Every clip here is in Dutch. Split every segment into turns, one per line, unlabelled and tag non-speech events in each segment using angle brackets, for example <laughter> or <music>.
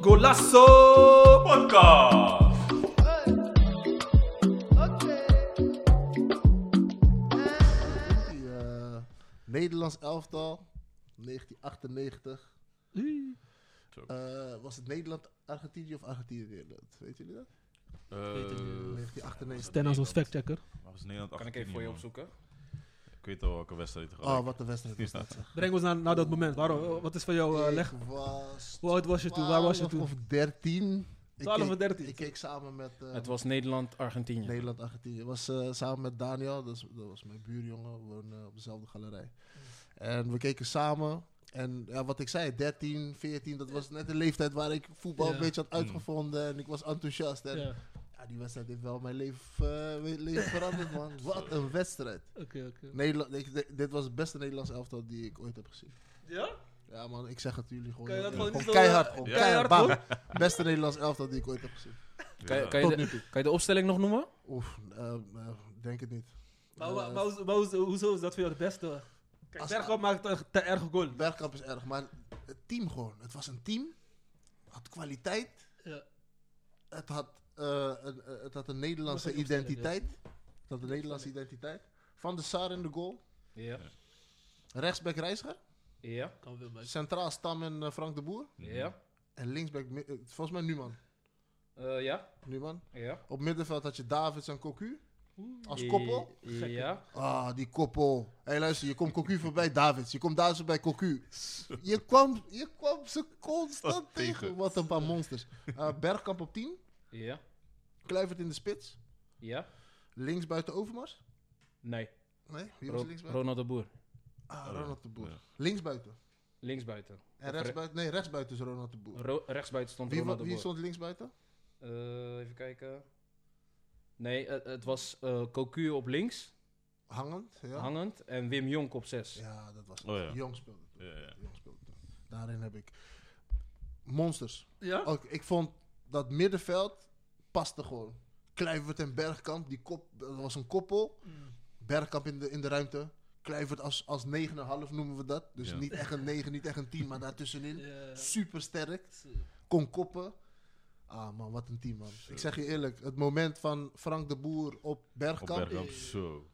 Golasso Podcast.
Die, eh, Nederlands elftal, 1998.
Zo.
Eh, was het Nederland-Argentinië of Argentinië-Nederland? Weet jullie dat?
Eh,
1998.
Stennis als factchecker.
waar was Nederland
Kan ik even voor je
18,
opzoeken?
man? Ik weet al welke wedstrijd het
Oh, wat een wedstrijd is dat. zeg.
Breng ons naar, naar dat moment. Waarom, wat is van jou eh, leg?
Ik was
Hoe oud was je toen? Waar was je
12
toen?
of 13. Ik
12 of
keek-
13.
Ik keek samen met eh,
Het was Nederland-Argentinië.
Nederland-Argentinië. Het was eh, samen met Daniel, dat, is- dat was mijn buurjongen, we woonden op dezelfde galerij. En we keken samen. En ja, wat ik zei, 13, 14, dat was net de leeftijd waar ik voetbal
Ja.
een beetje had
Mm.
uitgevonden. En ik was enthousiast. En
Ja,
Ja, die wedstrijd heeft wel mijn leven, eh, mijn leven veranderd,
<laughs>
man. Wat een wedstrijd.
oké, oké.
Nederland, ik- dit- dit was het beste Nederlands elftal die ik ooit heb gezien.
Ja?
Ja, man, ik zeg het jullie gewoon.
Kan je dat
Ja,
gewoon niet zo,
keihard,
eh,
gewoon
keihard,
keihard. bam. Beste Nederlands elftal die ik ooit heb gezien.
Kan, je- kan,
Tot
je
nu
de,
toe.
kan je de opstelling nog noemen?
Oef, eh, eh, denk het niet.
Maar,
Eh,
wa- maar hoezo- maar hoezo- hoezo is dat voor jou het beste? Kijk,
Als-
Bergkamp maakt een te erg goal.
Bergkamp is erg, maar het team gewoon. Het was een team, had kwaliteit,
Ja.
het had, eh, een, eh, het had een Nederlandse
Mag ik opstellen,
identiteit. Het had een Nederlandse identiteit. Van de Sar in de goal.
Ja.
Rechtsback Reiziger.
Ja.
Kan wel, maar-
Centraal Stam en eh, Frank de Boer.
Ja.
En linksback, mi- eh, volgens mij Numan.
Eh, ja.
Numan.
Ja.
Op middenveld had je Davids en Cocu. Als koppel.
Ja.
Ah, die koppel. Hé, luister, je komt Cocu voorbij Davids. Je komt Davids voorbij Cocu. Je kwam, je kwam ze constant
Dat tegen.
tegen. Wat een paar monsters. Eh, Bergkamp op 10.
Ja.
Kluivert in de spits.
Ja.
Links buiten Overmars.
Nee.
Nee, wie was
Ro-
links buiten?
Ronald de Boer.
Ah, Ronald de Boer.
Ja.
Links buiten.
Linksbuiten.
En rechts buiten, nee, rechts buiten is Ronald de Boer.
Ro rechtsbuiten stond
Wie, wa-
Ronald de
wie
Boer.
stond links buiten?
Eh, even kijken. Nee, het, het was eh Cocu op links,
Hangend. Ja,
hangend, en Wim Jonk op zes.
ja dat was het.
Oh, ja.
Jong speelde. toen.
Ja, ja.
Jong speelde toen. Daarin heb ik monsters.
Ja?
Ook, ik vond dat middenveld paste gewoon. Kluivert en Bergkamp, die kop, dat was een koppel. Bergkamp in de, in de ruimte. Kluivert als, als 9,5 noemen we dat. Dus
Ja.
niet echt een 9, niet echt een 10, maar
<laughs>
daartussenin.
Ja.
Super sterk. Kon koppen. Ah man, wat een team man. Ik zeg je eerlijk, het moment van Frank de Boer op
Op
Bergkamp.
Bergkamp, zo.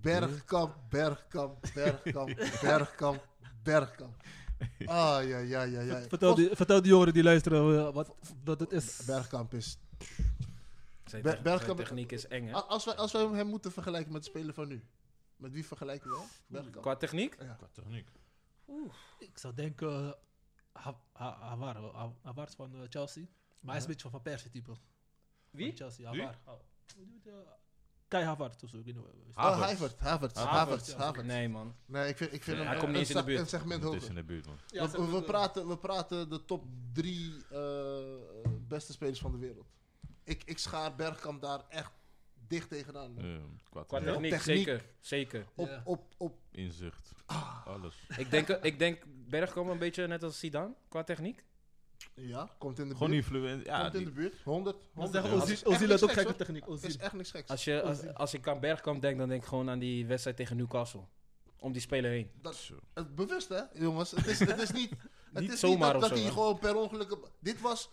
Bergkamp, Bergkamp,
<laughs>
Bergkamp, Bergkamp, Bergkamp. Ah ja, ja, ja, ja.
Vertel, die, vertel die jongeren die luisteren eh, wat, wat het is.
Bergkamp is
Zijn,
Ber-
tech-
Bergkamp-
zijn techniek is eng, hè?
A- Als wij, als wij hem moeten vergelijken met de speler van nu, met wie vergelijken we hem? Bergkamp.
Qua techniek?
Qua techniek.
Ik zou denken, eh, Ha- Ha- Havar, Ha- Havar is van eh, Chelsea. Maar hij is een beetje van Van Persie type. Van
Wie?
Chelsea,
Wie?
Havar. Oh, hoe noem je het, eh, Kai Havar, of zo, ik weet niet hoe- hoe is het?
Oh, Havert, Havert, Havert,
ja.
Havert. Nee,
Nee, man.
ik vind, ik vind
Nee,
hem
hij
een-
komt
een,
niet eens in de
seg-
buurt.
een segment
Het is
hoger.
in de buurt, man.
Want we, we praten, we praten de top drie eh, eh, beste spelers van de wereld. Ik, ik schaar Bergkamp daar echt dicht tegenaan. man.
Eh, Qua
Qua
techniek.
techniek,
Techniek.
zeker. Zeker.
Ja.
Op, op, op,
Inzicht.
Ah,
Alles.
ik, denk, ik denk Bergkamp een beetje net als Zidane, qua techniek.
ja, komt in de
Gewoon
buurt.
influent. Ja,
komt in
die-
de buurt. 100.
Maar
100.
zeggen,
Dat is
Ozil-
echt
Ozil
niks
had ook
geks,
gekke
hoor.
techniek.
Dat is
Ozil.
echt niks geks.
Als, je, als, als ik aan Bergkamp denk, dan denk ik gewoon aan die wedstrijd tegen Newcastle. Om die speler heen.
Dat,
zo.
Het bewust, hè, jongens. Het is,
<laughs>
het is niet, het
Niet
is
zomaar
niet
of
dat, dat
zo,
hij
hè?
gewoon per ongeluk... op- Dit was...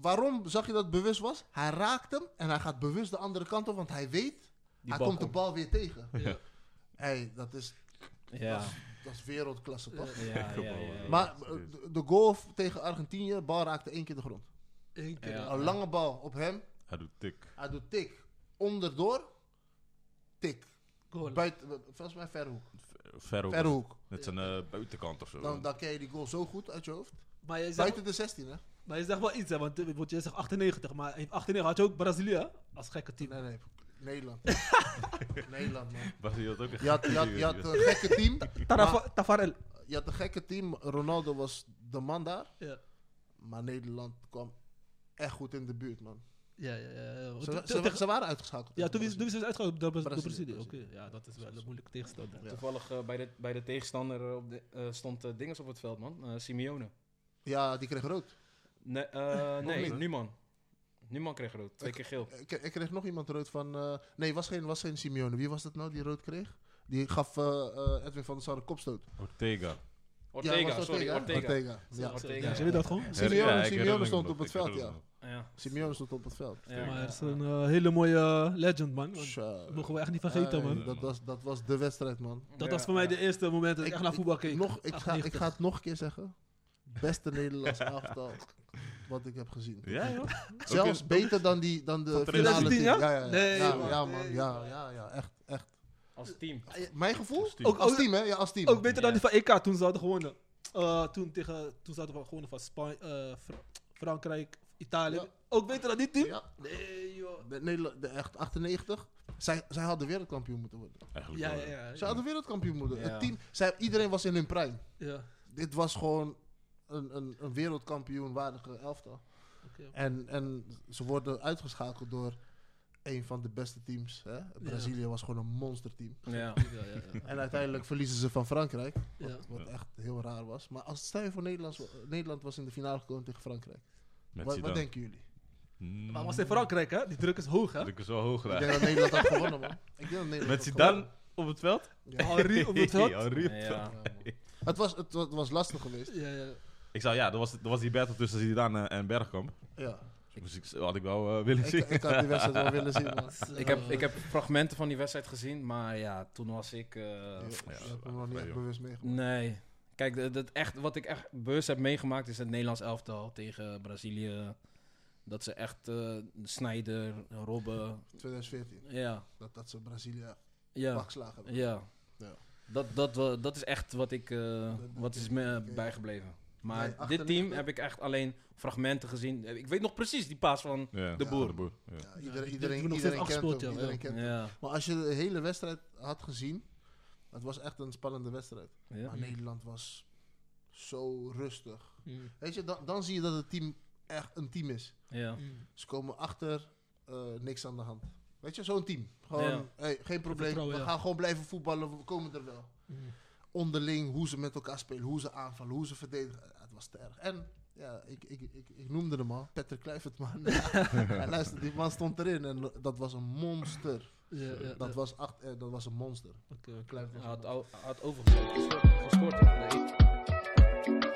Waarom zag je dat het bewust was? Hij raakt hem en hij gaat bewust de andere kant op, want hij weet...
Die
hij
bal
komt de
komt.
bal weer tegen.
Ja.
hey, dat is,
Ja,
<laughs>
dat is wereldklasse, toch?
ja, ja. ja, ja.
Maar eh, de- de goal tegen Argentinië, bal raakte één keer de grond.
Eén keer.
Ja.
Een lange bal op hem.
Hij doet tik.
Hij doet tik. Onderdoor. Tik.
Goal.
Buiten, volgens mij verhoek.
Verhoek.
Verhoek.
Net zijn eh, buitenkant of zo.
Dan, dan ken je die goal zo goed uit je hoofd.
Maar je, zegt,
Buiten de 16, hè?
maar je zegt wel iets, hè, want eh, want je zegt 98, maar in 98 had je ook Brazilië hè, als gekke team.
Nee, nee.
<laughs>
Nederland. Nederland, man.
Brazilië had ook een
Je had, je had, je had een gekke team. maar
Taraf- Tafarel.
je had een gekke team. Ronaldo was de man daar.
Ja.
Maar Nederland kwam echt goed in de buurt, man.
Ja, ja, ja. ja.
Ze,
Toen-
ze,
tegen-
ze waren uitgeschakeld.
Ja, toen is toen is het uitgegaan door Brazilië.
Brazilië,
Brazilië. Oké,
Brazilië.
ja, dat is wel een moeilijke tegenstander.
Ja.
Toevallig eh, bij, de, bij de tegenstander eh, op de, eh, stond eh, Dinges op het veld, man. Eh, Simeone.
Ja, die kreeg rood.
Nee, eh nee
niet?
Numan. Numan kreeg rood. Twee keer geel.
Ik, ik kreeg nog iemand rood van... eh, nee, was geen, was geen Simeone. Wie was dat nou die rood kreeg? Die gaf eh, eh, Edwin van der Sar een kopstoot.
Ortega.
Ortega,
was
sorry, Ortega.
ja.
Ortega.
Ja, zie je dat gewoon?
Simeone-
Ja, ik
Simeone
herinner me
stond
nog,
op het
ik herinner
veld,
me nog.
Ja.
Simeone stond op het veld.
Ja,
maar
ja,
het is
ja.
een eh, hele mooie legend, man. Want
Zo.
Dat mogen we echt niet vergeten,
Hey,
man.
Eh, Dat was, dat was de wedstrijd, man.
Dat
Ja,
was voor mij
ja.
de eerste moment dat ik echt naar voetbal keek.
Nog, ik, ga, ik
98.
ga het nog een keer zeggen. Beste Nederlands elftal wat ik heb gezien.
Ja, joh.
Zelfs
Ook
beter dan, die, dan de
Van
finale
2010,
team.
ja?
Ja, ja, ja.
Nee,
ja,
man.
ja, man.
Nee,
Ja, ja, ja. Echt, echt.
Als team.
Mijn gevoel?
Als team.
Ook,
Ook-
als
ook-
team, hè? Ja, als team.
Ook beter dan
Ja.
die van EK toen ze hadden gewonnen. Eh, toen, tegen, toen ze hadden gewonnen van Spanje, eh, Frankrijk, Italië.
Ja.
Ook beter dan die team?
Ja.
Nee, joh.
De Nederla- de echt 98. Zij, zij hadden wereldkampioen moeten worden.
Eigenlijk
Ja,
wel,
ja, ja.
Zij hadden wereldkampioen moeten worden.
Ja.
Het team, zij, iedereen was in hun prime.
Ja,
Dit was gewoon een, een, een wereldkampioen waardige elftal.
oké.
En, en ze worden uitgeschakeld door een van de beste teams. Hè? Brazilië was gewoon een monsterteam.
Ja.
Ja, ja, ja.
En uiteindelijk verliezen ze van Frankrijk. Wat,
Ja.
wat
Ja.
echt heel raar was. Maar als stel je voor Nederlands, Nederland was in de finale gekomen tegen Frankrijk.
Met
Wat,
Zidane.
wat denken jullie?
Mm.
Maar was in Frankrijk, hè? Die druk is hoog, hè?
Ik is wel hoog
Ik
graag.
denk dat Nederland had gewonnen, man. Ik denk dat Nederland
Met
had gewonnen.
Zidane op het veld?
Ja.
Henri op het
<laughs>
veld.
Henri op het veld.
Ja.
<laughs> Ja, man. het, was, het, wa- het was lastig geweest.
<laughs> Ja, ja.
Ik zou, ja, er was, er was die battle tussen Zidane eh, en Bergkamp.
Ja.
Dus moest ik, had ik wel eh, willen
Ik,
zien.
ik had die wedstrijd wel willen zien, man.
Dus, eh,
Ik heb, ik heb fragmenten van die wedstrijd gezien, maar ja, toen was ik... eh,
Ja, ik heb
ja,
hem nog niet echt
joh.
bewust meegemaakt.
Nee. Kijk, dat, dat echt, wat ik echt bewust heb meegemaakt is het Nederlands elftal tegen Brazilië. Dat ze echt eh Snijder, Robben.
2014.
Ja,
Dat, dat ze Brazilië
ja,
pakslagen hebben.
ja.
Ja.
Dat, dat, wa- dat is echt wat, ik, eh,
dat
wat
ken
is
ik,
me
dat ken ik.
bijgebleven. Maar
Nee,
dit team
98?
heb ik echt alleen fragmenten gezien. Eh, Ik weet nog precies die paas van.
Ja.
De
Boer.
De boer. Ja.
Ja,
die-
iedereen,
die
iedereen,
hebben nog
iedereen
steeds
kent
afgespeeld,
hem,
ja,
iedereen
ja.
kent hem.
Ja,
Maar als je de hele wedstrijd had gezien, het was echt een spannende wedstrijd.
ja.
Maar Nederland was zo rustig.
Mm,
Weet je, dan, dan zie je dat het team echt een team is.
ja.
mm.
Ze komen achter, eh, niks aan de hand. Weet je, zo'n team. Gewoon,
Ja.
hey, geen probleem, we
Vertrouwen, ja.
gaan gewoon blijven voetballen, we komen er wel.
Mm.
Onderling, hoe ze met elkaar spelen, hoe ze aanvallen, hoe ze verdedigen. Eh, Het was te erg. En ja, ik, ik, ik, ik noemde hem al, Patrick Kluivert, man. <laughs> en luister, die man stond erin en dat was een monster.
Ja, ja,
Dat
ja.
was, acht, eh, dat was een monster.
Oké, oké.
Kluivert was
Hij
een
had,
monster.
al- hij had overgescoord. gescoord.